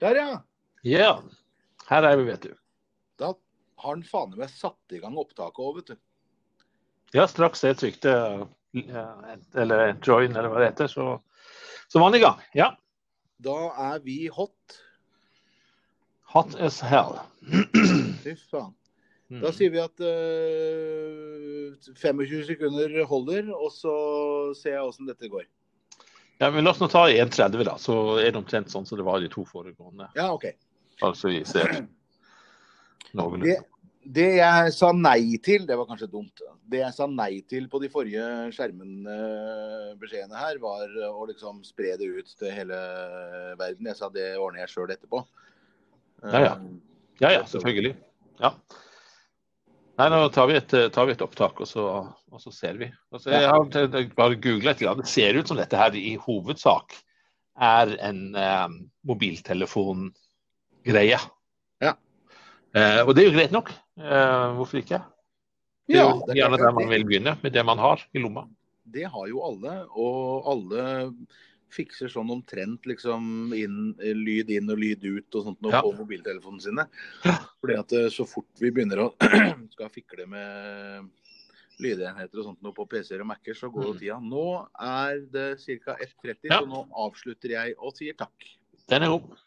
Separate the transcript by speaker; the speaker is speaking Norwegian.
Speaker 1: Der, ja.
Speaker 2: Ja. Her er vi, vet du.
Speaker 1: Da har han faen meg satt i gang opptaket òg, vet du.
Speaker 2: Ja, straks jeg trykte eh, eller join, eller hva det heter, så, så var han i gang. Ja.
Speaker 1: Da er vi hot.
Speaker 2: Hot as hell.
Speaker 1: Fy faen.
Speaker 2: Mm.
Speaker 1: Da sier vi at eh, 25 sekunder holder, og så ser jeg åssen dette går.
Speaker 2: Ja, men La oss nå ta 1,30, da. Så er det omtrent sånn som det var i de to foregående.
Speaker 1: Ja, OK.
Speaker 2: Bare så vi ser
Speaker 1: Det,
Speaker 2: noenlunde.
Speaker 1: det jeg sa nei til, det var kanskje dumt. Det jeg sa nei til på de forrige skjermen-beskjedene her, var å liksom spre det ut til hele verden. Jeg sa det ordner jeg sjøl etterpå. Eh,
Speaker 2: Ja, ja. Ja, ja, selvfølgelig. Ja. Nei, nå tar vi et, eh, tar vi et opptak, og så, og så ser vi. Og så, jeg har t- t- bare googlet litt. Det ser ut som dette her i hovedsak er en eh, mobiltelefongreie.
Speaker 1: Ja.
Speaker 2: Eh, og det er jo greit nok. Eh, hvorfor ikke? Det er
Speaker 1: Ja,
Speaker 2: jo
Speaker 1: det, er
Speaker 2: gjerne der
Speaker 1: klart,
Speaker 2: man
Speaker 1: det,
Speaker 2: vil begynne, med det man har i lomma.
Speaker 1: det har jo alle, og alle fikser sånn omtrent liksom inn, lyd inn og lyd ut og sånt nå
Speaker 2: Ja.
Speaker 1: på mobiltelefonene sine.
Speaker 2: Ja.
Speaker 1: Fordi at eh, så fort vi begynner å skal fikle med lydenheter og sånt nå på PC-er og Mac-er, så går jo
Speaker 2: Mm.
Speaker 1: tida. Nå er det ca. 1.30,
Speaker 2: Ja.
Speaker 1: så nå avslutter jeg og sier takk.
Speaker 2: Den er god.